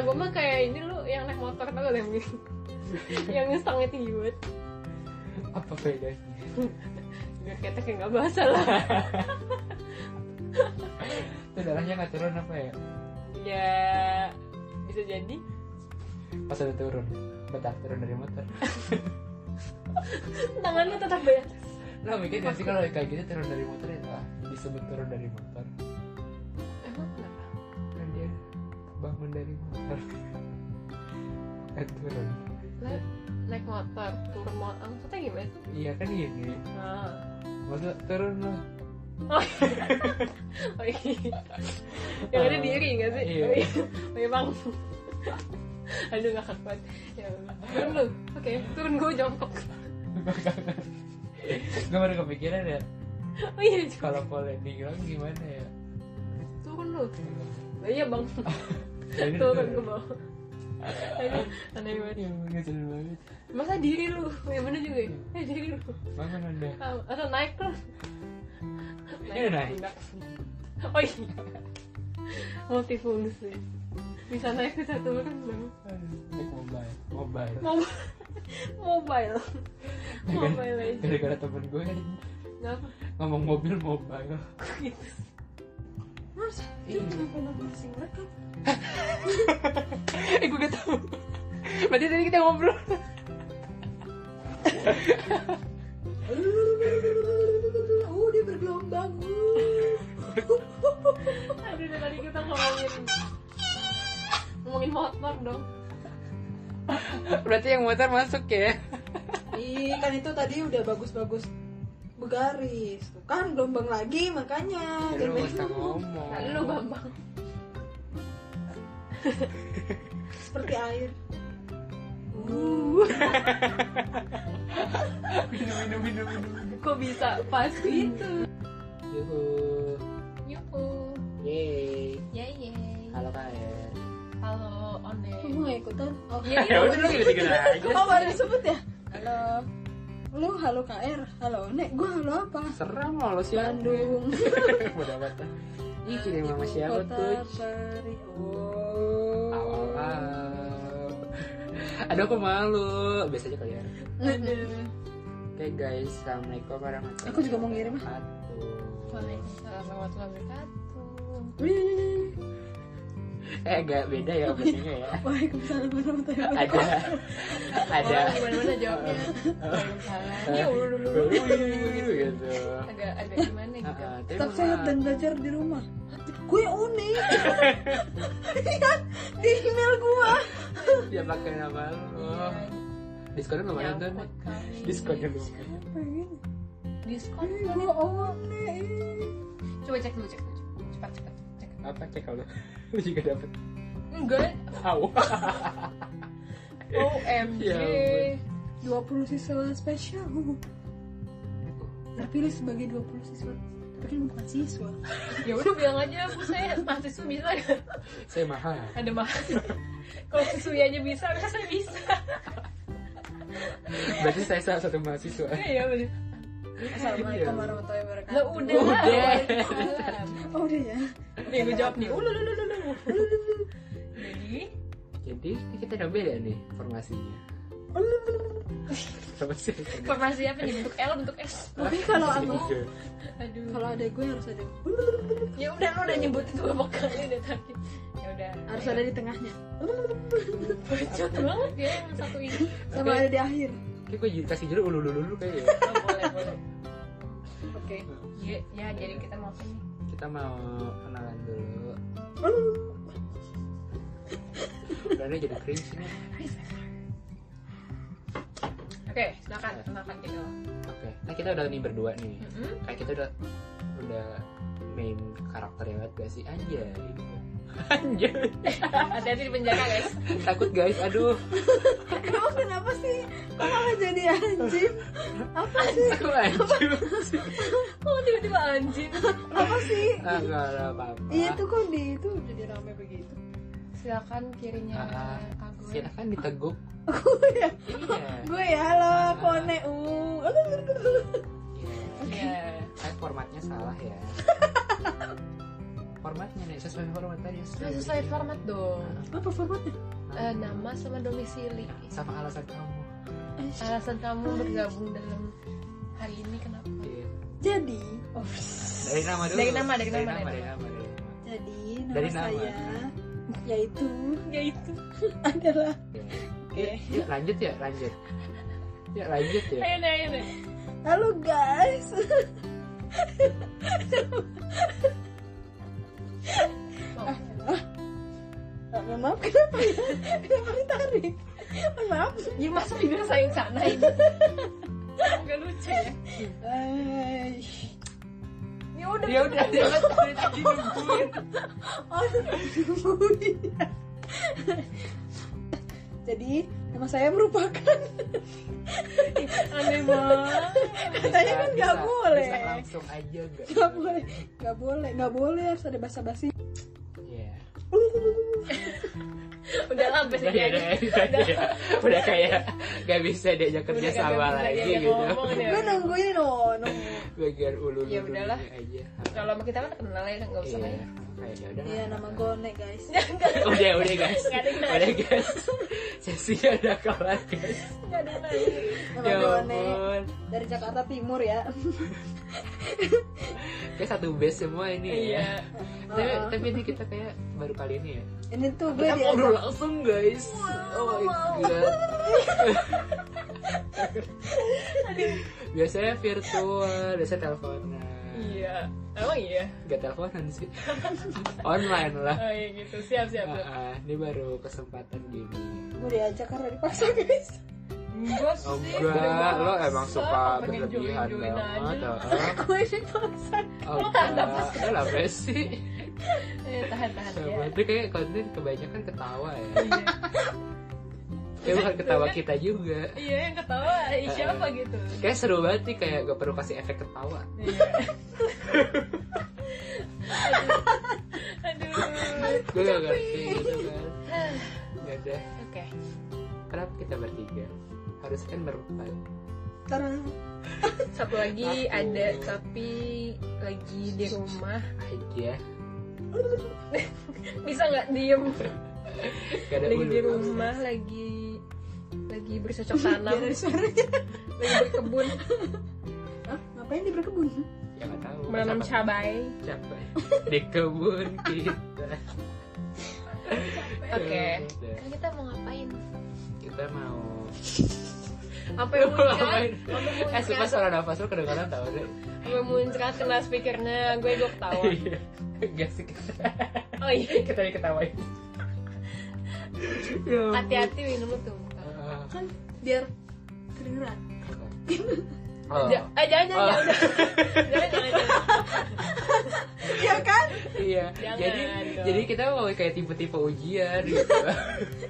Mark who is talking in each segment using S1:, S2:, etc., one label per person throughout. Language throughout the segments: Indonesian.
S1: coba kayak ini lu yang naik motor tau gak yang yang stangnya tinggi banget
S2: apa bedanya
S1: nggak ketek ya nggak basah lah
S2: itu darahnya nggak turun apa ya
S1: ya bisa jadi
S2: pas udah turun bentar turun dari motor
S1: tangannya tetap banyak
S2: lo mikir nggak sih kalau kayak gitu turun dari motor itu ah, disebut turun dari motor
S1: emang kenapa
S2: kan dia bangun dari motor kan turun
S1: Lah, naik motor turun motor maksudnya gimana sih
S2: iya kan gini
S1: ah.
S2: maksud turun lo
S1: oh iya. Oh, iya. yang ada diri nggak sih
S2: Iya.
S1: Oh, iya. memang aduh nggak kuat ya Allah. turun lu oke turun gue jongkok
S2: gue baru kepikiran ya
S1: oh iya jongkok.
S2: kalau pole dibilang gimana ya
S1: turun lu Lah, iya bang
S2: Jadi
S1: turun ke bawah Aduh, aneh banget
S2: Iya, ngecil banget
S1: masa diri lu yang bener juga ya eh, diri lu
S2: bangun anda
S1: Ah, atau naik lu
S2: Iya, naik.
S1: pundak. oh iya multifungsi bisa naik bisa turun bang
S2: Naik mobile mobile
S1: Mob- mobile
S2: Iya kan?
S1: mobile aja
S2: gara-gara temen gue kan
S1: kenapa
S2: ngomong mobil mobile
S1: kok gitu Mas, itu kenapa pusing banget lu?
S2: eh gue gak tau berarti tadi kita ngobrol
S1: Oh, dia bergelombang. Aduh, dari tadi kita ngomongin ngomongin motor dong.
S2: berarti yang motor masuk ya
S3: Ih, kan itu tadi udah bagus-bagus bergaris. Tuh kan gelombang lagi makanya.
S2: lu
S3: Jangan
S2: gak usah
S3: ngomong.
S2: ngomong
S1: Nah, lu Bambang.
S3: Seperti air.
S1: Uh,
S2: minum minum minum minum
S1: kok bisa pas gitu?
S2: yuhu
S1: Yuhu.
S2: yeay
S1: Yeay, yeay.
S2: halo kalian
S1: Halo, One.
S3: Kamu gak ikutan? Oh,
S1: Yeay.
S2: ya udah lu gitu gitu aja
S3: oh baru disebut ya? Halo. Lu halo KR, halo Nek, gua halo apa?
S2: serem loh lu siapa
S3: Bandung.
S2: udah batas ini
S3: iya,
S2: kirim sama siapa
S3: Kota
S2: tuh
S3: Peri.
S2: Au, au,
S3: Oh.
S2: au. Aduh aku malu Biasa aja kali ya
S3: Aduh.
S2: Oke guys Assalamualaikum warahmatullahi
S3: Aku juga mau ngirim, ah.
S2: wabarakatuh
S1: Waalaikumsalam warahmatullahi wabarakatuh.
S3: Wih.
S2: Eh agak beda ya openingnya ya
S3: Waalaikumsalam warahmatullahi
S2: Ada
S3: wabarakatuh.
S2: Ada
S1: Oh, gimana-mana jawabnya? Waalaikumsalam. Ya,
S2: Eh,
S1: ulu dulu.
S2: gitu
S1: Agak agak gimana
S2: Ah,
S1: gitu.
S2: ah, tapi
S3: Tetap
S2: maaf.
S3: sehat dan belajar di rumah. Gue unik. Lihat Iya, di email gua.
S2: Dia pakai nama lu Diskonnya belum ada tuh
S1: Nyangkut kami.
S2: Diskonnya belum ada.
S3: Apa ini?
S1: Diskon.
S3: Ih, gua awak nih.
S1: Coba cek dulu, cek dulu. Cepat, cepat, cek.
S2: Apa cek kalau Lu juga dapet
S1: Enggak.
S2: Au
S1: OMG.
S2: Ya ampun.
S3: 20 siswa spesial. Terpilih sebagai 20 siswa. Tapi kan bukan siswa.
S1: Ya udah bilang aja Bu saya mahasiswa bisa nggak?
S2: Saya mahal
S1: Ada mahasiswa. Kalau siswi aja bisa, masa saya bisa.
S2: Berarti saya salah satu mahasiswa
S1: Iya bener.
S3: Assalamualaikum warahmatullahi wabarakatuh.
S1: Lah udah. lah.
S2: Udah.
S1: Waalaikumsalam.
S3: Oh, udah ya.
S1: Nih gue jawab nih. Ulu ulu ulu ulu. Jadi
S2: Jadi kita udah beda nih formasinya Sama sih
S1: formasi apa nih bentuk L bentuk S?
S3: Tapi kalau aku
S1: Aduh.
S3: kalau ada gue harus ada
S1: Ya udah lu udah nyebut itu berapa kali udah tadi. Ya udah.
S3: harus ada di tengahnya
S1: Cut banget ya yang satu ini.
S3: sama ada di akhir.
S2: Ini gue kasih judul ya. ulu dulu dulu kayaknya
S1: Oh, boleh boleh.
S3: Oke.
S1: Ya, ya jadi kita mau apa nih?
S2: Kita mau kenalan dulu Karena jadi cringe nih
S1: Oke, silakan kenalkan kita.
S2: Oke, nah kita udah nih berdua nih
S1: Mm-mm.
S2: Kayak kita udah udah main karakternya banget gak sih? Anjay Anjay
S1: Hati-hati di penjara guys.
S2: Takut guys, aduh
S3: Emang kenapa sih? Kok malah jadi anjing? Apa sing?
S2: Aku anjir
S1: Kok Oh, tiba-tiba anjing?
S3: Apa sih?
S2: Ah, gak ada apa-apa
S3: Iya tuh kok di itu jadi rame begitu.
S1: Silakan kirinya ya.
S2: Ah,
S1: Agus.
S2: Silahkan diteguk
S3: Gue ya,
S2: Iya Ah,
S3: gue ya halo kone u.
S2: Iya
S1: Iya.
S2: Eh, Kayak formatnya salah ya formatnya nih sesuai format tadi sesuai. Ah.
S1: Nah, sesuai format dong.
S3: Apa formatnya?
S1: Eh, nama sama domisili.
S2: sama alasan kamu
S3: Eh,
S1: Alasan kamu bergabung dalam hari ini kenapa?
S2: Iya.
S3: Jadi, oh,
S2: dari nama dulu
S1: Dari nama, dari nama,
S2: dari
S1: dari
S2: nama dari nama.
S3: jadi nama,
S2: Dari nama.
S3: saya yaitu
S1: Yaitu.
S3: adalah
S2: Ya. Yuk, yuk, lanjut ya lanjut ya lanjut ya
S1: Ayo deh, ayo deh.
S3: Halo guys.
S1: Oh,
S3: Ah, mohon maaf kenapa ya? Kenapa ditarik? Mohon maaf.
S1: ya masa bibir saya yang sana ini? Gak lucu ya?
S3: Eh,
S1: Ya udah.
S2: ya udah dia kan dari tadi nungguin
S3: aduh. Jadi nama saya merupakan
S1: Aneh banget.
S3: katanya kan nggak
S2: Bisa-
S3: boleh.
S2: bisa langsung aja gak
S3: Nggak boleh, nggak boleh, nggak boleh harus ada basa-basi.
S2: Iya.
S1: Udah lah, besi
S2: udah ya udah ya, udah ya. udah kayak gak bisa diajak kerja
S1: Udah kagak
S2: sama
S1: bisa
S2: lagi
S1: diajak
S2: gitu
S1: ngomong deh.
S3: Gue nungguin no, nunggu.
S2: bagian ulu
S1: Ya udahlah.
S2: aja
S1: Kalau sama kita kan kenal ya, nggak usah lah
S2: Iya.
S1: ya.
S2: Kayak ya udah
S3: Iya
S2: lah.
S3: nama Gone guys.
S2: udah udah guys
S1: Nggak ada yang nanya.
S2: udah guys sesinya udah kelar guys
S1: Gak ada lagi.
S3: Nama
S2: ya
S3: Gone
S2: ampun
S3: dari Jakarta Timur ya.
S2: kayak satu base semua ini
S1: Iya.
S2: ya tapi
S3: Heeh.
S2: tapi ini kita kayak baru kali ini ya
S3: Ini tuh gue
S2: kita
S3: diajak
S2: ngobrol langsung guys oh my god biasanya virtual biasanya teleponan
S1: Iya. Emang iya.
S2: Gak teleponan sih Online lah
S1: Oh iya gitu. Siap, siap, siap.
S2: Ah, ah, Ini baru kesempatan gini
S3: gue diajak karena dipaksa guys.
S1: Enggak
S2: Oh, Enggak, lo emang suka berlebihan banget ah.
S3: gue dipaksa.
S2: Oh,
S1: Lo tahan
S2: enggak.
S1: nafas
S2: Eh, lah apa sih?
S1: Eh, tahan, tahan ya.
S2: Sama itu kayak konten kebanyakan ketawa ya
S1: Iya.
S2: Kayak bukan ketawa kita juga
S1: Iya, yang ketawa eh, siapa gitu.
S2: Kayak seru banget nih, kayak gak perlu kasih efek ketawa
S1: Iya. Aduh. Aduh.
S2: Gue gak ngerti gitu kan
S1: Iya.
S2: Ya udah,
S1: Oke.
S2: kenapa kita bertiga? Harusnya kan berempat
S3: Karena
S1: Satu lagi
S2: Satu.
S1: ada tapi lagi di rumah.
S2: aja
S1: Bisa nggak diem?
S2: Gak ada
S1: Lagi
S2: ulu.
S1: di rumah, lagi lagi bercocok
S2: Iya.
S1: tanam,
S3: biar ada suaranya.
S1: lagi berkebun,
S3: Hah? Ngapain di berkebun?
S2: Ya gak tau
S1: menanam cabai.
S2: capek di kebun kita Ya
S1: Oke.
S2: Udah.
S1: Kan kita mau ngapain?
S2: kita mau
S1: Apa yang
S2: Mau
S1: muncrat?
S2: ngapain? eh sumpah suara nafas lu kedengaran tau deh
S1: Apa yang muncrat kena speakernya? Gue gue ketawa.
S2: Iya. gak sih kita
S1: Oh iya.
S2: kita diketawain Ya ampun.
S1: Hati-hati minum tuh.
S2: Ah,
S3: Kan biar kedengeran.
S2: ah.
S1: Ja- eh, jangan jangan jangan
S2: Oh.
S1: udah. jangan jangan jangan.
S3: Iya kan?
S2: iya
S1: Jangan
S2: jadi
S1: dong.
S2: jadi kita mau kayak tipe-tipe ujian gitu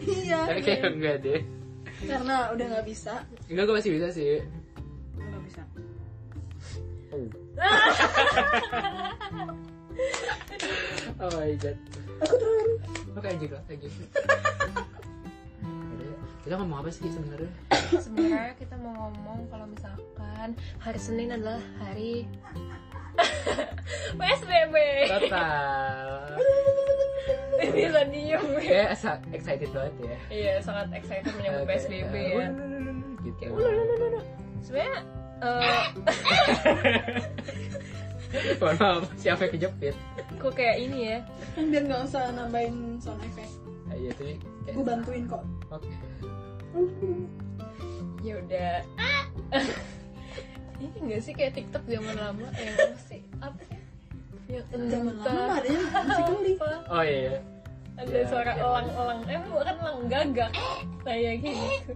S3: Iya.
S2: tapi kayak enggak deh
S3: Karena udah nggak bisa.
S2: enggak gue masih bisa sih
S3: Nggak bisa.
S2: oh my god
S3: Aku turun.
S2: Oke lanjut lah, lanjut. Udah, kita ngomong apa sih sebenarnya?
S1: Sebenarnya kita mau ngomong kalau misalkan hari Senin adalah hari PSBB.
S2: Total.
S1: Bisa diem.
S2: Kayak sa- excited banget ya.
S1: Iya, sangat excited menyambut
S2: Kayak,
S1: PSBB
S2: eh,
S1: ya.
S2: Gitu.
S1: Sebenarnya eh,
S2: Mohon maaf, siapa yang kejepit?
S1: kok kayak ini ya?
S3: Kan biar nggak usah nambahin sound effect.
S2: Ah, Iya tuh. kayak-
S3: Gue bantuin kok.
S2: Oke.
S1: Ya udah. Ini enggak sih kayak TikTok zaman lama yang apa sih? Apa ya? Yang
S3: Zaman lama
S1: entah
S3: adanya musikali.
S1: apa.
S2: Oh iya.
S1: ada
S2: Ya,
S1: suara
S2: ya.
S1: elang-elang eh bukan elang gagak kayak gitu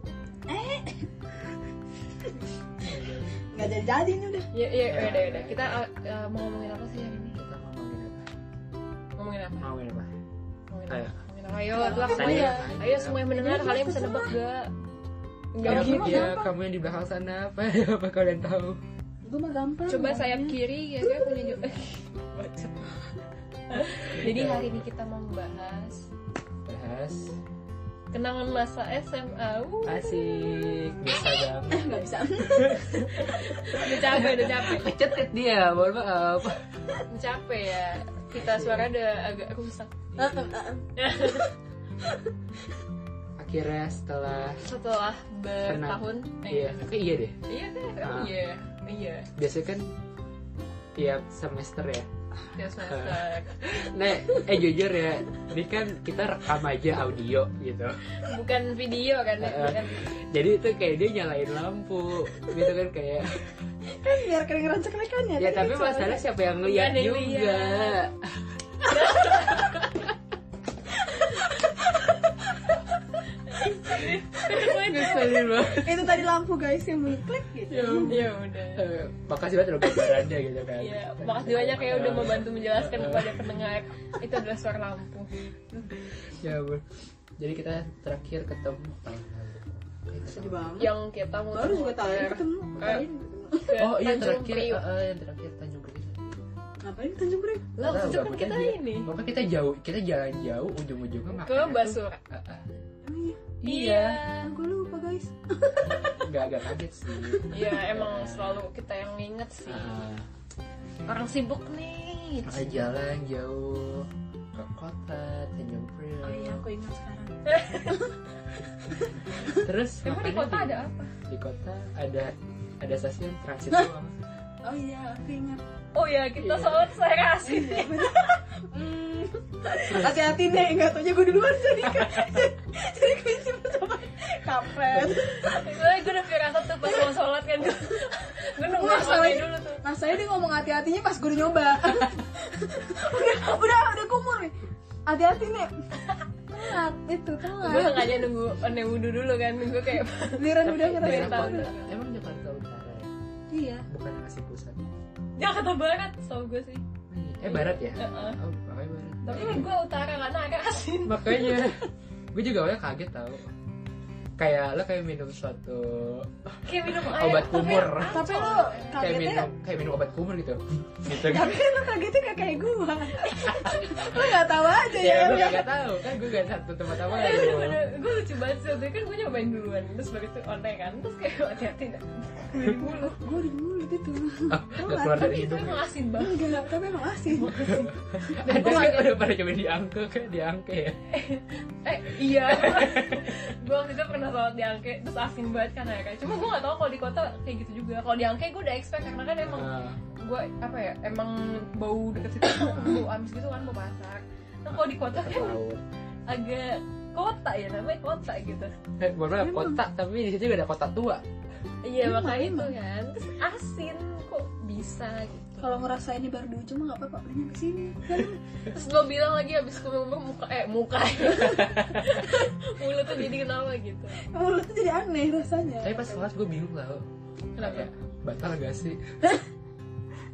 S3: Nggak jadi-jadi nih udah.
S1: ya ya
S2: Ya,
S1: udah udah
S2: ya.
S1: kita uh, uh, mau ngomongin apa sih hari ini
S2: Kita ngomongin apa?
S1: ngomongin apa
S2: Ngomongin apa?
S1: ngomongin
S2: Ayo.
S1: apa ngomongin apa ayo lah semuanya
S2: Tanya.
S1: ayo semua yang mendengar
S3: Ayo,
S1: kalian bisa
S3: terserah.
S1: nebak gak
S2: Ya,
S1: Enggak
S3: Ayo,
S1: gitu.
S3: gimana?
S2: ya, kamu yang di belakang sana apa? ya, apa kalian tahu?
S3: Gue mah gampang.
S1: Coba
S3: orangnya.
S1: sayap kiri ya saya punya ju- Jadi hari ini kita mau membahas
S2: Bahas.
S1: kenangan masa SMA. Uh,
S2: Asik. Bisa banget.
S3: Eh, Nggak bisa.
S1: udah capek, udah capek.
S2: Kecetit dia, mohon maaf.
S1: Capek ya. kita suara udah agak rusak
S3: Ah, ah, ah, ah.
S2: akhirnya setelah
S1: setelah bertahun
S2: iya kayak iya deh
S1: iya kan
S2: Ah.
S1: iya iya
S2: biasanya kan tiap semester ya
S1: tiap semester
S2: Nek, eh jujur ya, ini kan kita rekam aja audio gitu.
S1: bukan video kan ya
S2: Eh,
S1: bukan.
S2: Jadi itu kayak dia nyalain lampu, gitu kan kayak.
S3: kan biar kedengeran ceklek-ceklekannya,
S2: Ya
S3: tadi
S2: tapi
S3: kan
S2: masalah siapa yang ngeliat
S1: Nggak ada yang
S2: juga.
S1: lihat.
S2: Ngeselin banget.
S3: suaranya. itu tadi lampu guys yang mengklik gitu
S1: ya udah
S2: Eh, Makasih banget udah gambarannya gitu kan.
S1: Iya, makasih banyak ya udah membantu menjelaskan kepada pendengar itu adalah suara lampu.
S2: Ya ampun. Jadi kita terakhir ketemu tahun lalu.
S3: sedih banget
S1: Yang kita mau
S3: baru juga tahu
S1: ke
S3: ketemu
S1: Kayak-
S3: ngapain ketemu.
S2: Oh iya
S1: Tanjung
S2: terakhir,
S1: Priok.
S2: eh, eh, yang terakhir Tanjung Priok.
S3: ngapain ke Tanjung Priok
S1: Lah,
S2: Tahu,
S1: itu kan
S2: gabutnya
S1: kita
S2: dia.
S1: ini
S2: Pokoknya kita jauh, kita jalan jauh, ujung-ujungnya eh, makan.
S1: ke Basura.
S3: emang iya
S2: Iya.
S3: Ah, gue lupa guys
S2: Enggak agak kaget sih.
S1: Iya, emang selalu kita yang nginget sih.
S2: Ah.
S1: Orang sibuk nih.
S2: Makanya jalan jauh ke kota Tanjung Priok.
S3: oh iya aku ingat sekarang
S2: Terus
S1: Emang di
S2: makanya
S1: kota ada apa?
S2: Di kota ada ada stasiun transit doang.
S3: oh iya aku ingat
S1: Oh ya, kita
S2: Iya.
S1: sholat serasi.
S3: Hmm. hati-hati nih nggak taunya gue duluan jadi jadi gue cepet sama kampret
S1: Gue gue udah firasat tuh pas mau sholat kan. Gue nunggu
S3: Wah,
S1: sholat
S3: sholat.
S1: dulu tuh.
S3: Nah saya dia ngomong hati-hatinya pas gue udah nyoba Udah, udah, udah kumur nih Hati-hati nih Telat, itu
S1: Gue
S3: telat
S1: sengaja nunggu nunggu wudhu dulu kan. Gue kayak Kan
S3: Liran udah ngerasa
S1: Daerah
S2: Jakarta,
S3: banget.
S1: Utara.
S2: emang Jakarta Utara ya?
S3: Iya
S2: Bukan masih pusat.
S1: Jakarta Barat, so gue sih.
S2: Eh barat ya?
S1: Iya. Heeh.
S2: Oh, makanya barat.
S1: Tapi kan gue utara karena agak asin.
S2: Makanya gue juga awalnya kaget tau. Kayak lo kayak minum suatu
S1: Kayak minum air.
S2: obat
S1: tapi-
S2: kumur.
S3: Tapi lo
S2: Kayak
S3: kagetnya
S2: minum kayak minum obat kumur gitu. Gitu
S1: Iya,
S2: kan.
S3: Tapi kan lo kagetnya gak kayak gue Lo gak tau aja
S2: Ya
S3: ya kan
S2: gue gak tau kan gue gak satu teman-teman.
S1: Eh, iya. bener-bener, gue lucu banget sih, waktu itu kan gue nyobain duluan Terus baru itu online kan, terus kayak hati-hati dah Dari mulut
S3: Gue di mulut itu
S2: Gak keluar dari
S1: Tapi itu
S2: hidung. ya?
S1: emang asin banget
S3: Enggak, tapi emang asin
S2: Ada kan udah pernah coba diangke kan diangke ya?
S1: Eh, iya Gue waktu itu pernah sholat di angke, terus asin banget kan airnya Cuma gue gak tau kalau di kota kayak gitu juga Kalau di angke gue udah expect, karena kan emang
S2: Ah,
S1: gue apa ya emang bau deket situ tuh bau amis gitu kan bau pasar nah kalau di kota kan
S2: tahu.
S1: agak kota ya namanya kota gitu
S2: Eh, bener kota tapi di situ juga ada kota tua.
S1: iya
S3: Emang,
S1: makanya itu
S3: emang.
S1: kan terus asin kok bisa gitu
S3: Kalau ngerasain ini baru di ujung mah gak apa-apa Mending kesini
S1: terus lo bilang lagi abis kumur muka eh muka mulut tuh jadi kenapa gitu
S3: Mulutnya jadi aneh rasanya
S2: Tapi pas kelas gue bingung lah.
S1: kenapa
S2: Kayak batal gak sih?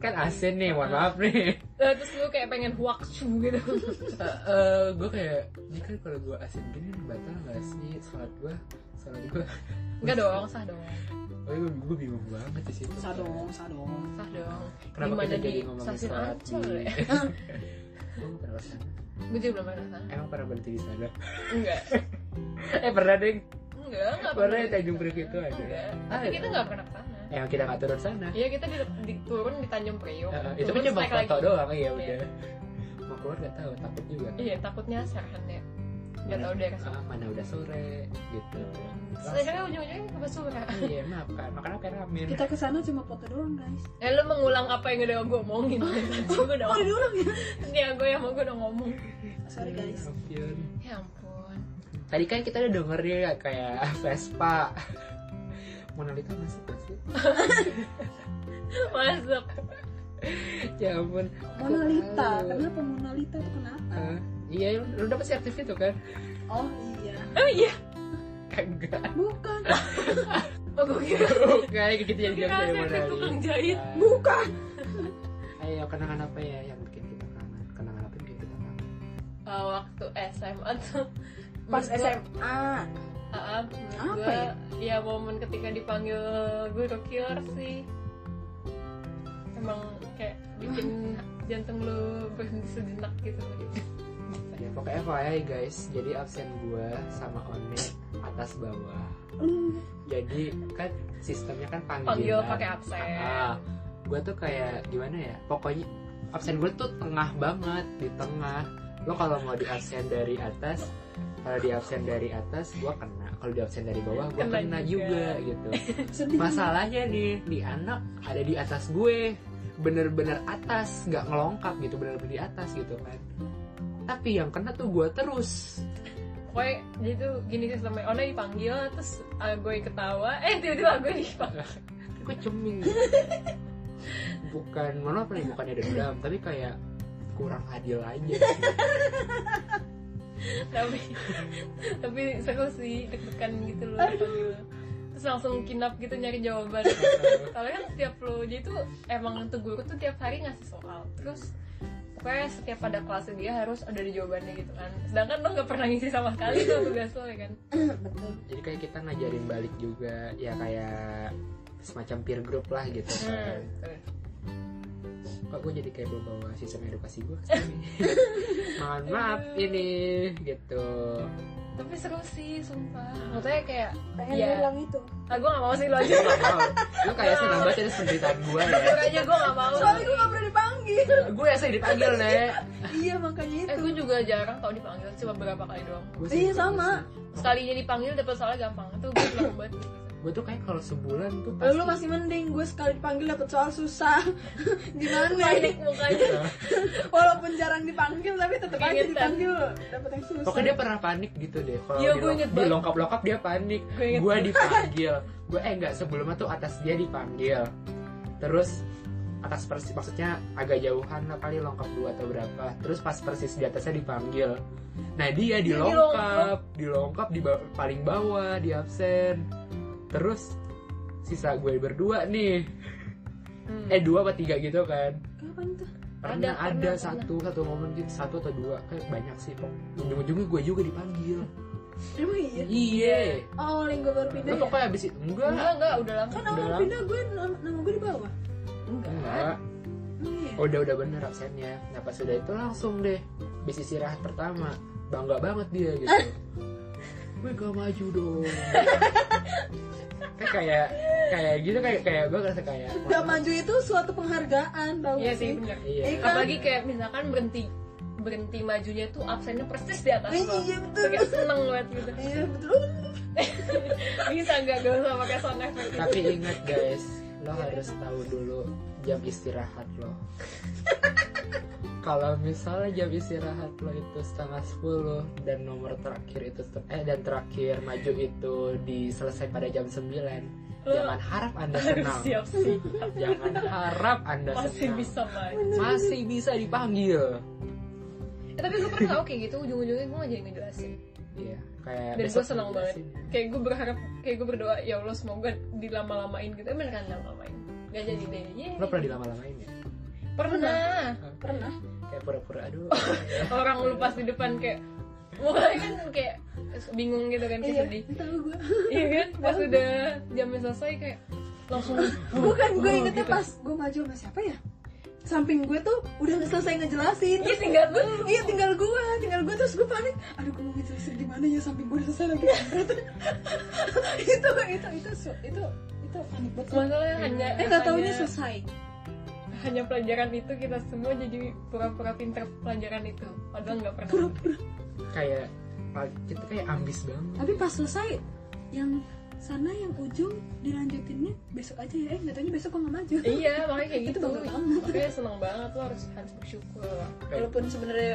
S2: kan asin nih, mohon maaf nih.
S1: Nah, terus lo kayak pengen waktu gitu
S2: gue Eh, kayak, ini kan kalau gue asin gini batal gak sih? Salat gue, salat gue.
S1: enggak dong sah dong
S2: Oh, gue bingung banget di situ.
S3: Sadong, sadong
S1: sah dong
S2: Kenapa
S1: gimana
S2: kita jadi
S1: di
S2: ngomongin
S1: stasiun
S2: salat di?
S1: ancol ya
S2: Gue pernah kesana.
S1: gue juga belum pernah sana
S2: Emang pernah berhenti di sana?
S1: enggak
S2: eh pernah deh.
S1: enggak enggak
S2: Pernah ya
S1: ke
S2: Tanjung
S1: sana.
S2: Priok itu ada.
S1: Enggak. tapi
S2: Ada.
S1: kita enggak pernah ke sana
S2: Emang kita gak turun sana.
S1: Iya kita di, di- turun di Tanjung Priok.
S2: Eh, itu kan
S1: Turun,
S2: cuma
S1: naik
S2: foto
S1: lagi.
S2: doang ya
S1: Iya.
S2: udah. Mau keluar gak tahu, takut juga.
S1: Iya takutnya sarahan ya. Gak
S2: Mana-
S1: tau deh kesana.
S2: ah, mana udah sore gitu.
S1: Sebenarnya ujung-ujungnya ke Basura.
S2: Iya makan, makan apa ramen?
S3: Kita kesana cuma foto doang guys
S1: Eh lu mengulang apa yang udah gue omongin? gue udah
S3: Oh,
S1: ngomong.
S3: diulang ya
S1: Nih gue yang mau gue udah ngomong.
S3: Sorry guys
S2: Ampun.
S1: Ya ampun.
S2: Tadi kan kita udah dengerin ya kayak Vespa. Monalita masuk gak sih?
S1: Masuk.
S2: Ya ampun. aku
S3: Mona Lisa,
S2: tahu.
S3: kenapa Mona Lisa itu kenapa?
S2: Eh, iya, lu- lu dapet sertif itu kan?
S3: Oh iya,
S1: Oh iya.
S2: Kagak.
S3: bukan,
S1: Oh gue kira.
S2: Kayak gitu jadi
S1: Kira
S2: jam dari
S1: saya
S2: Mona
S1: tukang
S2: Lisa.
S1: jahit.
S3: bukan.
S2: Ayo kenangan apa ya yang bikin kita kangen? Kenangan apa yang bikin kita kangen?
S1: Eh, waktu SMA tuh.
S3: Pas
S1: menurut gua-
S3: SMA,
S1: Ah, ah, menurut
S3: Apa
S1: gua, ya? momen ketika dipanggil guru kior sih emang kayak bikin jantung lu berhenti sejenak gitu
S2: Ya pokoknya FYI guys, jadi absen gue sama One atas bawah.
S3: Hmm,
S2: Jadi kan sistemnya kan panggilan.
S1: panggil pakai absen
S2: Ah, gue tuh kayak gimana ya? Pokoknya absen gue tuh tengah banget di tengah lo kalau mau di absen dari atas kalau di absen dari atas gue kena kalau di absen dari bawah gue
S1: Kena
S2: kena
S1: juga.
S2: juga gitu
S3: Sedih.
S2: masalahnya nih di anak ada di atas gue bener-bener atas nggak ngelongkap gitu bener-bener di atas gitu kan tapi yang kena tuh gue terus
S1: Pokoknya jadi tuh gini sistemnya, Ona dipanggil terus ah, gue ketawa, eh tiba-tiba gue dipanggil.
S2: gue ceming bukan mana apa nih bukannya dendam tapi kayak kurang adil aja
S1: tapi tapi seru sih deg-degan gitu loh dipanggil. Terus langsung kinap gitu nyari jawaban. Soalnya kan setiap lo jadi tuh emang tuh guru tuh tiap hari ngasih soal. Terus pokoknya setiap pada kelas dia harus ada di jawabannya gitu kan. Sedangkan lo nggak pernah ngisi sama sekali tuh tugas lo ya kan.
S3: Betul.
S2: jadi kayak kita ngajarin balik juga ya kayak semacam peer group lah gitu
S1: Hmm,
S2: kan
S1: betul.
S2: kok gue jadi kayak bawa sistem edukasi gue mohon maaf ini gitu
S1: tapi seru sih sumpah
S3: Hmm.
S1: maksudnya kayak
S3: Pengen
S1: Iya.
S3: bilang itu.
S1: ah gue gak mau sih lo aja
S2: Gua nggak mau. lu kayak senang banget atas penderitaan gue ya
S1: kayaknya gue gak mau
S3: Soalnya gue gak pernah dipanggil.
S2: gue yang sering dipanggil nek
S3: iya makanya
S1: eh
S3: itu.
S1: gue juga jarang tau dipanggil cuma berapa kali doang
S2: Gua
S3: Iya,
S2: sering-
S3: sama.
S1: sekalinya dipanggil dapat soalnya gampang itu gue bilang banget
S2: gue tuh kayak kalau sebulan tuh Eh, pasti
S3: Lalu masih mending gue sekali dipanggil dapet soal susah. Gimana
S1: panik
S3: Nah, ini?
S1: mukanya
S2: Iya.
S3: Walaupun jarang dipanggil tapi tetap aja
S1: Keingetan.
S3: dipanggil dapet yang susah.
S2: Pokoknya dia pernah panik gitu deh. Kalau
S1: Iya,
S2: di-
S1: gua inget
S2: di
S1: banget.
S2: longkap-longkap dia panik.
S1: Gua inget
S2: Gue dipanggil. Gue eh nggak sebelumnya tuh atas dia dipanggil. Terus atas persis maksudnya agak jauhan lah kali longkap dua atau berapa. Terus pas persis di atasnya dipanggil. Nah dia di longkap, di longkap di ba- paling bawah di absen. Terus sisa gue berdua nih.
S1: Hmm.
S2: Eh dua apa tiga gitu kan.
S3: Kapan tuh?
S2: Pernah
S1: Ada,
S2: ada,
S1: pernah,
S2: satu satu momen gitu satu atau dua kayak banyak sih kok. Ujung-ujungnya gue juga dipanggil.
S3: Emang iya?
S2: Iya.
S3: Oh, yang gue baru pindah
S2: Lu
S3: ya?
S2: pokoknya abis itu
S1: enggak
S2: enggak.
S1: enggak udah lama
S3: Kan awal
S2: Udah.
S3: pindah gue, nama nama gue di bawah.
S2: Enggak.
S3: Oh iya.
S2: Udah udah bener absennya. Nah pas udah itu langsung deh. Bis istirahat pertama. Bangga banget dia gitu. Gue gak maju dong. kayak kayak kayak gitu kayak kayak gue ngerasa kayak.
S3: Gak maju itu suatu penghargaan tau
S1: iya
S3: gak
S1: sih
S3: sih?
S1: bener
S2: Iya.
S3: Eh, kan?
S1: apalagi kayak misalkan berhenti berhenti majunya tuh absennya persis di atas
S3: Eh,
S1: lo
S3: iya, betul.
S1: Tuh kayak seneng banget gitu
S3: Iya betul.
S1: bisa nggak gak usah pakai sound effect
S2: Tapi ingat guys, lo harus tahu dulu jam istirahat lo. Kalau misalnya jam istirahat lo itu setengah sepuluh dan nomor terakhir itu set- eh dan terakhir maju itu diselesai pada jam 9
S1: Lo
S2: Jangan harap anda
S1: harus
S2: senang,
S1: siap sih
S2: jangan harap anda
S1: masih
S2: senang.
S1: bisa maju
S2: Masih bisa dipanggil.
S1: Eh, tapi gue pernah tau kayak gitu ujung-ujungnya gue gak jadi ngejelasin
S2: Iya, kayak.
S1: dan gue
S2: besok
S1: senang banget
S2: jelasin.
S1: kayak gue berharap kayak gue berdoa ya Allah semoga dilama-lamain gitu eh beneran dilama-lamain gak jadi deh Yeay.
S2: Lo pernah dilama-lamain ya?
S1: pernah
S3: Oh, Pernah.
S2: Kayak pura-pura aduh.
S1: orang lu pas di depan kayak mulai kan kayak bingung gitu kan kayak
S3: Iya.
S1: sedih
S3: Tahu gue.
S1: iya kan pas udah jamnya selesai kayak langsung
S3: Bukan gue
S1: oh,
S3: kan ingetnya
S1: gitu.
S3: pas gue maju sama siapa ya? Samping gue tuh udah nggak selesai ngejelasin.
S1: iya tinggal tuh
S3: Iya tinggal gue, tinggal gue terus gue panik. Aduh gue mau ngejelasin di mana ya samping gue udah selesai lagi. itu itu itu su- itu itu panik banget.
S1: masalahnya
S2: Iya.
S1: hanya
S3: Eh nggak taunya
S1: hanya-
S3: selesai.
S1: hanya pelajaran itu kita semua jadi pura-pura pinter pelajaran itu padahal nggak pernah
S2: kayak kita kayak ambis banget.
S3: Tapi pas selesai yang sana yang ujung dilanjutinnya besok aja ya. Eh nggak taunya besok gue nggak maju.
S1: iya makanya kayak
S3: Itu
S1: gitu
S3: bangga banget.
S1: makanya seneng banget lo harus harus bersyukur
S3: Walaupun sebenarnya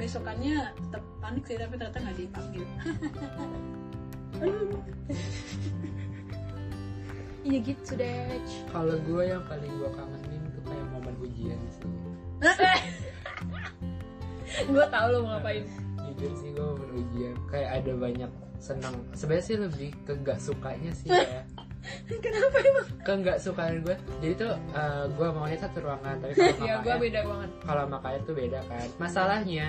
S3: besokannya tetap panik sih tapi ternyata nggak dipanggil.
S1: iya gitu deh
S2: Kalau gue yang paling gue kangenin tuh kayak momen ujian sih.
S1: gue tau lo mau ngapain
S2: Nah, Jujur sih gue momen ujian kayak ada banyak senang. Sebenarnya sih lebih ke gak sukanya sih ya.
S3: Kenapa emang?
S2: Ke gak sukanya gue. Jadi tuh eh, gue maunya satu ruangan tapi kalau sama
S1: ya gue
S2: KR
S1: beda banget
S2: kalau sama KR tuh beda kan. Masalahnya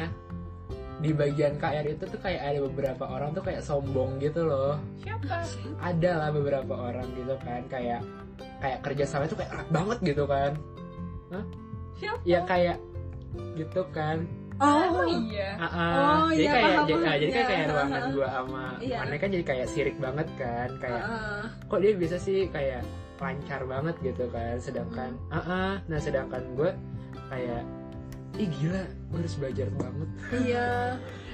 S2: di bagian KR itu tuh kayak ada beberapa orang tuh kayak sombong gitu loh.
S1: siapa
S3: Ah.
S2: ada lah beberapa orang gitu kan kayak kayak kerjasama itu kayak erat banget gitu kan Hah?
S1: Siapa?
S2: ya kayak gitu kan
S1: oh
S3: Oh,
S1: iya
S2: Ah, ah.
S3: Oh,
S2: jadi
S3: iya,
S2: kayak jadi,
S3: paham, paham.
S2: ah, jadi kan
S3: Iya,
S2: kayak
S3: ah,
S2: ruangan
S3: ah.
S2: gua sama
S3: Iya.
S2: mana kan jadi kayak sirik banget kan kayak
S3: ah,
S2: kok dia bisa sih kayak lancar banget gitu kan sedangkan ah, ah. nah sedangkan gue kayak ih gila gue harus belajar banget
S3: iya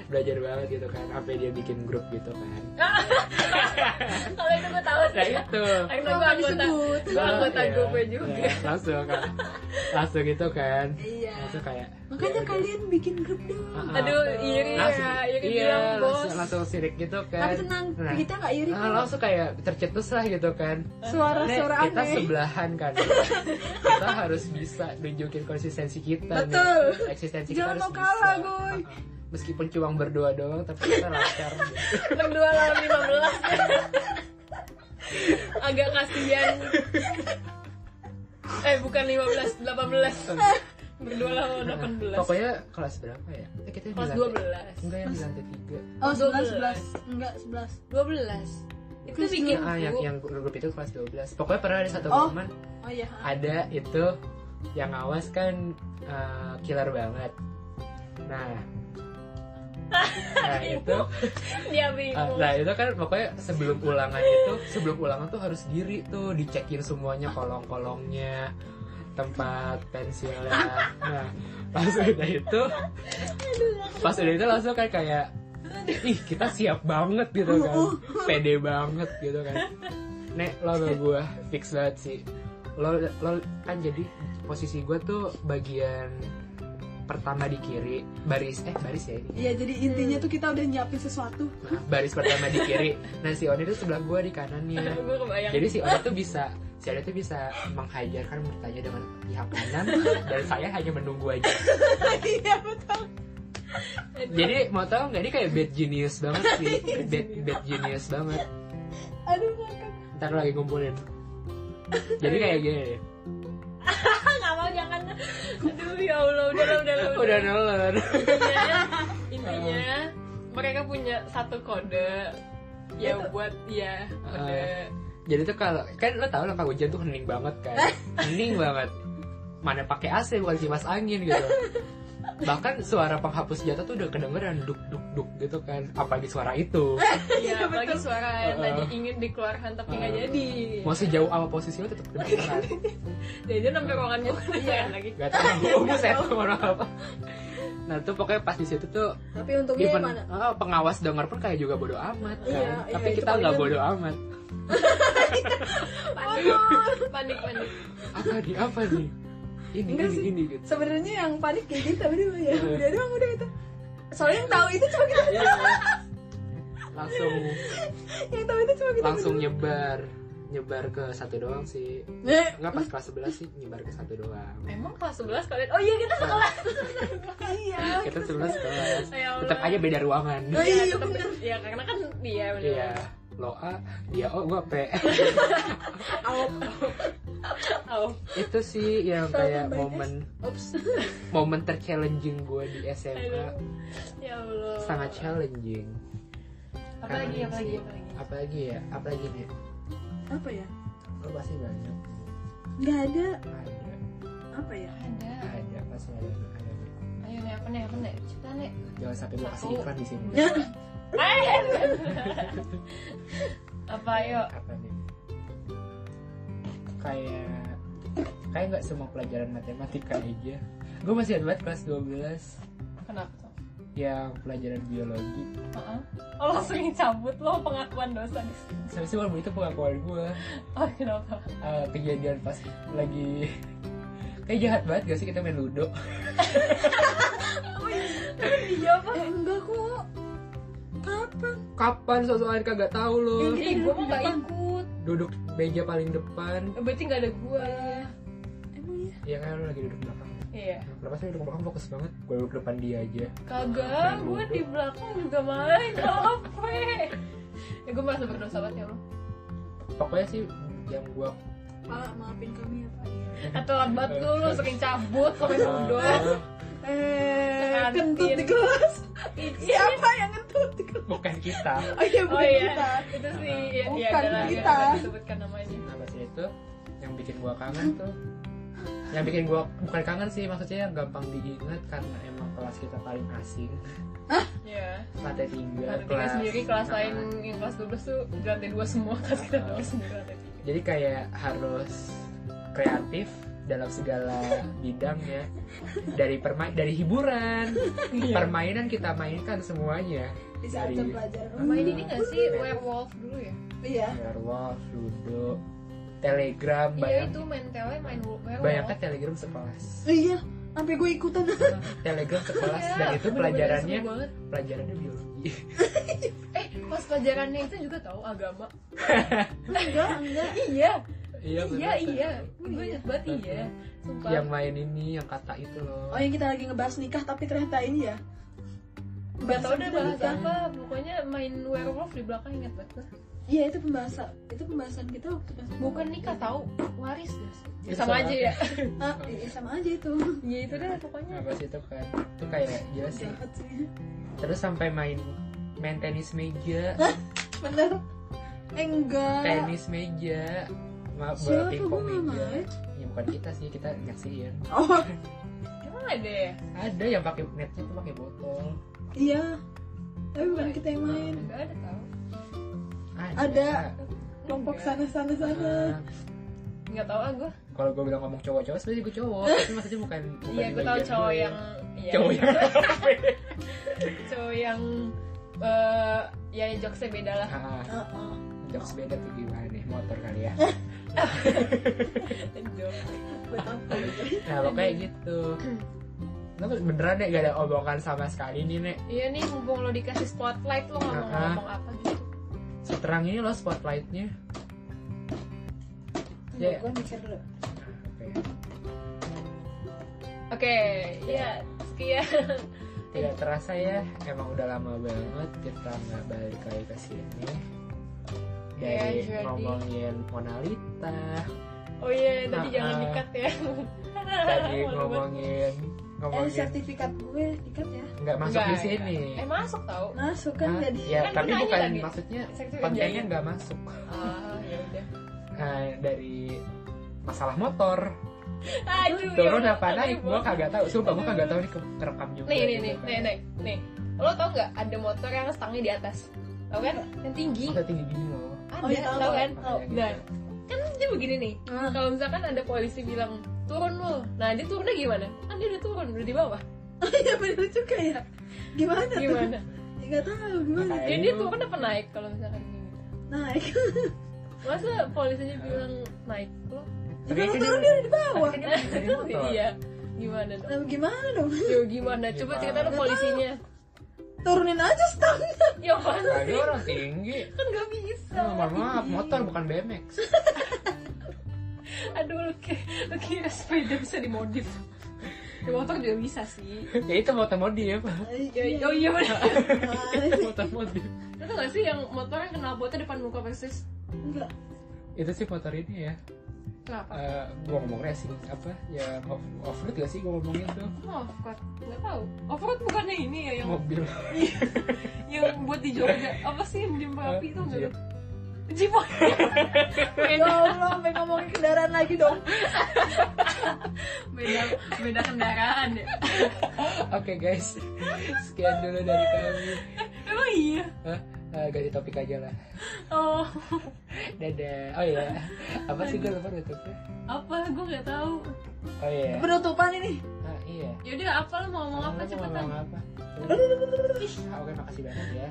S2: belajar banget gitu kan sampai dia bikin grup gitu kan
S1: Kalau itu gue tahu
S2: nah
S1: sih.
S2: itu
S1: Akhirnya
S3: Kenapa
S1: gue anggota,
S3: disebut?
S1: gue anggota
S2: Iya,
S1: grupnya juga.
S2: iya, langsung kan langsung gitu kan
S3: Iya.
S2: langsung kayak
S3: makanya
S2: ya udah.
S3: kalian bikin grup dong
S2: Ah, ah.
S1: Aduh, iri
S2: langsung
S1: ya, iri
S2: iya,
S1: bilang bos.
S2: langsung, langsung sirik gitu kan
S3: tapi tenang
S2: Nah,
S3: kita nggak iri
S2: ah,
S3: kok
S2: langsung kayak tercetus lah gitu kan Nek,
S3: suara-suara
S2: kita
S3: aneh
S2: sebelahan kan kita harus bisa nunjukin konsistensi kita
S3: Betul.
S2: nih. eksistensi
S3: Jangan
S2: kita harus
S3: mau kalah,
S2: bisa.
S3: Goy.
S2: Ah, ah. meskipun cuma berdua doang tapi kita lancar gitu.
S1: Berdua lawan 15 Agak kasihan Eh bukan 15, 18 Berdua lawan 18
S2: Nah, pokoknya kelas berapa ya eh, kita di
S1: Kelas
S2: lantai-
S1: 12
S2: enggak yang di lantai tiga
S3: oh sebelas
S1: 12.
S3: sebelas enggak sebelas
S1: 12 Itu bikin
S2: ah, yang,
S1: grup.
S2: yang grup itu kelas 12 pokoknya pernah ada satu
S3: Oh.
S2: momen
S3: oh iya
S2: ada itu yang awas kan eh, killer banget nah nah itu
S1: Dia bingung
S2: nah itu kan pokoknya sebelum ulangan itu sebelum ulangan tuh harus diri tuh dicekin semuanya kolong-kolongnya tempat pensilnya nah pas udah itu pas udah itu langsung kayak kayak ih kita siap banget gitu kan pede banget gitu kan nek lo sama gue fix banget sih lo lo kan jadi posisi gue tuh bagian pertama di kiri baris eh baris ya ini
S3: Iya jadi intinya tuh kita udah nyiapin sesuatu
S2: Nah, baris pertama di kiri nah si Oni tuh sebelah gua di kanannya
S1: Gue kebayang
S2: Iya. jadi si Oni tuh bisa si Oni tuh bisa menghajarkan bertanya dengan pihak kanan dan saya hanya menunggu aja
S3: iya betul
S2: jadi mau tau nggak ini kayak bad genius banget sih bad, bad genius banget
S3: aduh makan
S2: ntar lagi kumpulin jadi kayak gini nih.
S1: Ah nggak mau jangan Aduh ya Allah udah lah udah lah
S2: udah nolor
S1: intinya, intinya mereka punya satu kode ya buat ya
S2: Ah.
S1: kode
S2: jadi tuh kalau kan lo tau lah kalau hujan tuh hening banget kan hening banget mana pakai AC bukan kipas angin gitu bahkan suara penghapus jatuh tuh udah kedengeran duk duk duk gitu kan apalagi suara itu
S1: ya apalagi suara yang
S2: Uh-uh.
S1: tadi ingin dikeluarkan tapi nggak
S2: Uh-uh.
S1: jadi
S2: mau sejauh apa posisi lo tetap kedengeran
S1: jadi dia sampai ruangannya kedengeran lagi
S2: nggak tahu gue buset sama apa nah tuh pokoknya pas di situ tuh
S3: tapi untungnya
S2: even
S3: yang mana
S2: ah, pengawas denger pun kayak juga bodoh amat kan
S3: Iya, iya,
S2: tapi
S3: itu
S2: kita nggak
S3: paling-
S2: bodoh amat
S1: panik panik panik
S2: apa nih apa nih ini
S3: Enggak
S2: ini
S3: sih.
S2: ini gitu
S3: sebenarnya yang panik kayak gitu tapi dulu ya
S2: Iya.
S3: udah doang udah itu soalnya yang tahu itu cuma kita
S2: langsung
S3: yang tahu itu cuma kita
S2: langsung nyebar nyebar ke satu doang sih
S3: Eh,
S2: Enggak pas kelas 11 sih nyebar ke satu doang
S1: emang kelas 11 kalian oh iya kita sekelas
S3: iya
S2: kita 11 kelas
S1: ya Allah
S2: tetap aja beda ruangan
S3: Oh, iya,
S1: Tetep-
S3: bener.
S1: ya karena kan dia bener
S2: iya lo A dia O gua P
S1: oh
S2: itu sih yang kayak
S3: Sorry, Mbak
S2: momen
S3: ups
S2: momen terchallenging gue di
S1: aduh.
S2: SMA
S1: ya Allah
S2: sangat challenging
S1: apalagi
S2: Keren
S1: apalagi
S2: sih.
S1: apalagi
S2: apalagi ya apalagi nih
S3: apa ya
S2: lo pasti banyak
S3: nggak ada
S2: ada
S3: apa ya
S1: ada
S2: ada pasti ada ada
S1: ayo nih apa nih apa nih cerita nih
S2: jangan sampai gua kasih
S1: Satu.
S2: iklan di sini
S1: apa yuk
S2: apa nih kayak kayak nggak semua pelajaran kan, matematika aja gue ya? masih ada banget kelas 12
S1: Kenapa tuh?
S2: yang pelajaran biologi
S1: Heeh. Oh, lo sering cabut lo pengakuan dosa di sini.
S2: sampai sih walaupun itu pengakuan gue
S1: Oh, kenapa?
S2: eh, kejadian pas lagi kayak jahat banget gak sih kita main ludo
S1: Iya, apa?
S3: eh, enggak kok kapan Iya,
S2: kapan sosokan kagak tahu lo
S3: Yang
S1: Ih, gue mau gak ikut.
S2: duduk meja paling depan
S1: Eh, Berarti gak ada gua.
S3: emang ya
S2: ya kan lo lagi duduk belakang
S1: Iya.
S2: kenapa sih duduk belakang fokus banget gue duduk depan dia aja
S1: Kagak, gue di belakang juga main. Apa? Ya, gue merasa berdosa banget ya lo.
S2: pokoknya sih yang gue
S3: Pak, maafin kami ya Pak.
S1: Atau banget lo, lo sering cabut sampai bodoh.
S3: Eh,
S1: Kantin.
S3: kentut di kelas. Siapa yang kentut di kelas?
S2: bukan kita
S3: Oh iya,
S1: Oh
S3: bukan Iya, kita.
S1: iya, itu sih ya, ya,
S3: Bukan
S1: adalah-
S3: kita.
S1: adalah disebutkan namanya. Iya.
S2: Nah pas itu yang bikin gua kangen tuh yang bikin gua bukan kangen sih maksudnya yang gampang diingat karena emang kelas kita paling asing
S1: Iya.
S2: lantai tiga Nah,
S1: Lantai tiga sendiri kelas lain yang kelas 12 tuh di lantai dua semua kelas kita
S2: Nah.
S1: kelas sendiri lantai tiga.
S2: jadi kayak harus kreatif dalam segala bidangnya dari permain dari hiburan
S1: Iya.
S2: permainan kita mainkan semuanya
S3: di saat
S2: dari-
S3: pelajaran
S2: Hmm.
S1: Main ini gak sih werewolf dulu ya?
S3: iya
S2: Werewolf, Ludo, Telegram
S1: Iya
S2: banyak
S1: itu main tele main werewolf.
S2: banyak kan Telegram sekelas
S3: iya sampai gue ikutan
S2: Telegram sekelas
S1: Iya,
S2: dan itu
S1: bener-bener
S2: pelajarannya
S1: seru banget.
S2: pelajarannya biologi
S1: Eh, pas pelajarannya itu juga tahu agama.
S3: enggak enggak
S1: Iya, iya,
S2: iya bener,
S1: iya.
S2: seru.
S1: Gue inget banget iya. Sumpah.
S2: yang main ini yang kata itu loh
S1: iya.
S3: oh yang kita lagi ngebahas nikah tapi ternyata ini ya
S1: Gak tau deh
S3: kita
S1: bahas
S3: nikah.
S1: apa, pokoknya main werewolf di belakang inget banget
S3: iya itu pembahasan itu pembahasan kita waktu pas
S1: Bukan nikah tahu, waris deh
S2: Itu
S1: Sama aja ya
S3: ah, iya, sama aja itu
S1: Ya itu deh pokoknya
S2: apa sih itu kan itu
S1: Iya.
S2: kayak gila sih
S3: jahat sih
S2: terus sampai main main tenis meja
S3: bener
S1: Ah.
S3: Eh, enggak
S2: tenis meja maaf bola
S3: siapa gue
S2: pingpong
S3: nggak
S2: meja
S3: main
S2: ya bukan kita sih kita nyaksiin
S3: oh
S1: Emang ada ya?
S2: ada yang pakai netnya tuh pakai botol
S3: iya tapi bukan kita yang main
S1: Gak ada tau
S3: Ada. kelompok sana sana sana
S2: Ah,
S1: Gak tau ah gue
S2: kalau gue bilang ngomong cowok-cowok sebenarnya gue cowok tapi maksudnya bukan bukan
S1: Iya
S2: di
S1: gue tau
S2: bagian
S1: cowok
S2: gue.
S1: yang iya,
S2: cowok yang
S1: Cowok yang eh, Ya jokesnya beda lah
S2: Ah,
S3: Ah, ah.
S2: jokes beda tuh gimana nih motor kali ya
S1: Jokes.
S3: betapa
S2: nah pokoknya gitu Lo beneran deh gak ada omongan sama sekali nih nek
S1: Iya nih mumpung lo dikasih spotlight lo gak mau
S2: Ah.
S1: ngomong apa gitu
S2: seterang ini lo spotlightnya
S3: Tunggu,
S2: Iya.
S3: gue mikir dulu
S2: Apa ya?
S1: Oke, ya sekian
S2: tidak terasa ya emang udah lama banget kita nggak balik lagi ke sini dari
S1: Iya, jadi-
S2: ngomongin Monalita
S1: Oh iya, tadi
S2: Ah,
S1: jangan
S2: ah.
S1: dikat ya
S2: tadi
S1: Malu banget.
S2: ngomongin
S3: eh
S2: ngomongin
S3: sertifikat gue dikat ya
S2: nggak masuk di
S1: Enggak,
S2: sini
S1: enggak. Eh masuk tau
S3: nah suka
S2: Nah,
S3: jadi
S2: ya
S1: Kan
S2: tapi
S1: nanya
S2: bukan
S1: lagi.
S2: maksudnya
S1: Sektor
S2: kontennya
S1: jahit.
S2: nggak masuk
S1: Ah, ya udah.
S2: Nah, dari masalah motor
S1: Aduh.
S2: turun
S1: ya Allah,
S2: apa naik
S1: aduh,
S2: gua kagak tahu sumpah gua
S1: Aduh.
S2: kagak tahu nih ke- kerekam juga
S1: Nih, nih,
S2: gitu
S1: nih,
S2: kan.
S1: nih, nih, nih. Lo tau nggak ada motor yang stangnya di atas? Tau kan? Yang tinggi.
S2: Masa tinggi gini loh
S1: Ada,
S3: Oh, iya, tahu.
S1: tau kan?
S2: Makanya gitu.
S1: Nah, kan dia begini nih.
S3: Ah.
S1: Kalau misalkan ada polisi bilang turun lo, nah dia turunnya gimana? Kan dia udah turun, udah di bawah.
S3: Iya bener juga ya Gimana tuh?
S1: Gimana?
S3: Gak tau gimana Nah,
S2: Makanya
S1: Jadi dia
S2: lu-
S1: turun apa kan naik kalau misalkan gini?
S3: Naik
S1: Masa polisinya bilang naik lo?
S2: Tapi
S3: Kalau
S2: kan
S3: turun
S2: dia-
S3: dia di bawah
S2: kan dia bisa di motor.
S1: Iya. Gimana dong?
S3: Nah, Gimana dong?
S1: Yo gimana? Coba
S2: Gimana?
S1: cerita lo polisinya.
S3: Turunin aja stangnya
S1: Ya kan
S2: Lagi Nah, orang tinggi
S1: kan nggak bisa.
S2: Oh, mohon maaf, motor bukan BMX.
S1: Aduh, lu ki- lu kira sepeda bisa dimodif? Ya, motor juga bisa sih.
S2: ya itu motor modif.
S1: Ya, oh iya benar.
S3: Nah,
S2: motor modif.
S1: Lu tau gak sih yang motor yang kena botnya depan muka persis?
S3: Enggak
S2: Itu sih motor ini ya.
S1: Kenapa?
S2: Eh, gua ngomong racing apa? Ya off off road gak sih gua ngomongin tuh?
S1: Oh, offroad. Gak tau. Offroad bukannya ini ya yang
S2: Mobil.
S1: yang buat di Jogja. Apa sih yang jumpa api itu enggak?
S2: Jeep.
S1: Jeep.
S3: Ya
S1: beda,
S3: Allah, sampai ngomongin kendaraan lagi dong
S1: beda, beda kendaraan ya.
S2: Oke guys, sekian dulu dari kami.
S1: Emang iya.
S2: Hah? Eh, ganti topik aja lah.
S1: Oh,
S2: Dadah. Oh iya. Apa sih gua lupa nutupnya?
S1: apa? Gue nggak tahu.
S2: Oh iya.
S3: Penutupan ini
S2: Ah, iya.
S1: Yaudah, apa lu mau ngomong apa
S2: Lu mau
S1: cepetan?
S2: ngomong apa? Ah, Oke, makasih banget ya.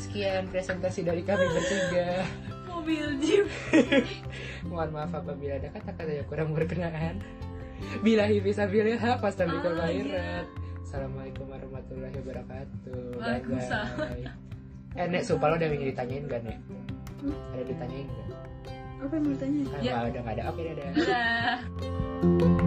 S2: Sekian presentasi dari kami bertiga.
S1: Mobil Jeep.
S2: Mohon maaf apabila ada kata-kata yang kurang berkenaan. Bila bisa bilha, pasti
S1: Ah,
S2: khairat. Assalamualaikum warahmatullahi wabarakatuh. Bye
S1: Waalaikumsalam.
S2: bye. Eh, Nek, sumpah lo ada yang ingin ditanyain gak, Nek? Ada yang ditanyain Ah, gak?
S3: Apa yang mau ditanya?
S2: Ah,
S1: Hmm? Ya.
S2: Nah. nggak ada, nggak ada. Oke, dadah.
S1: Dadah.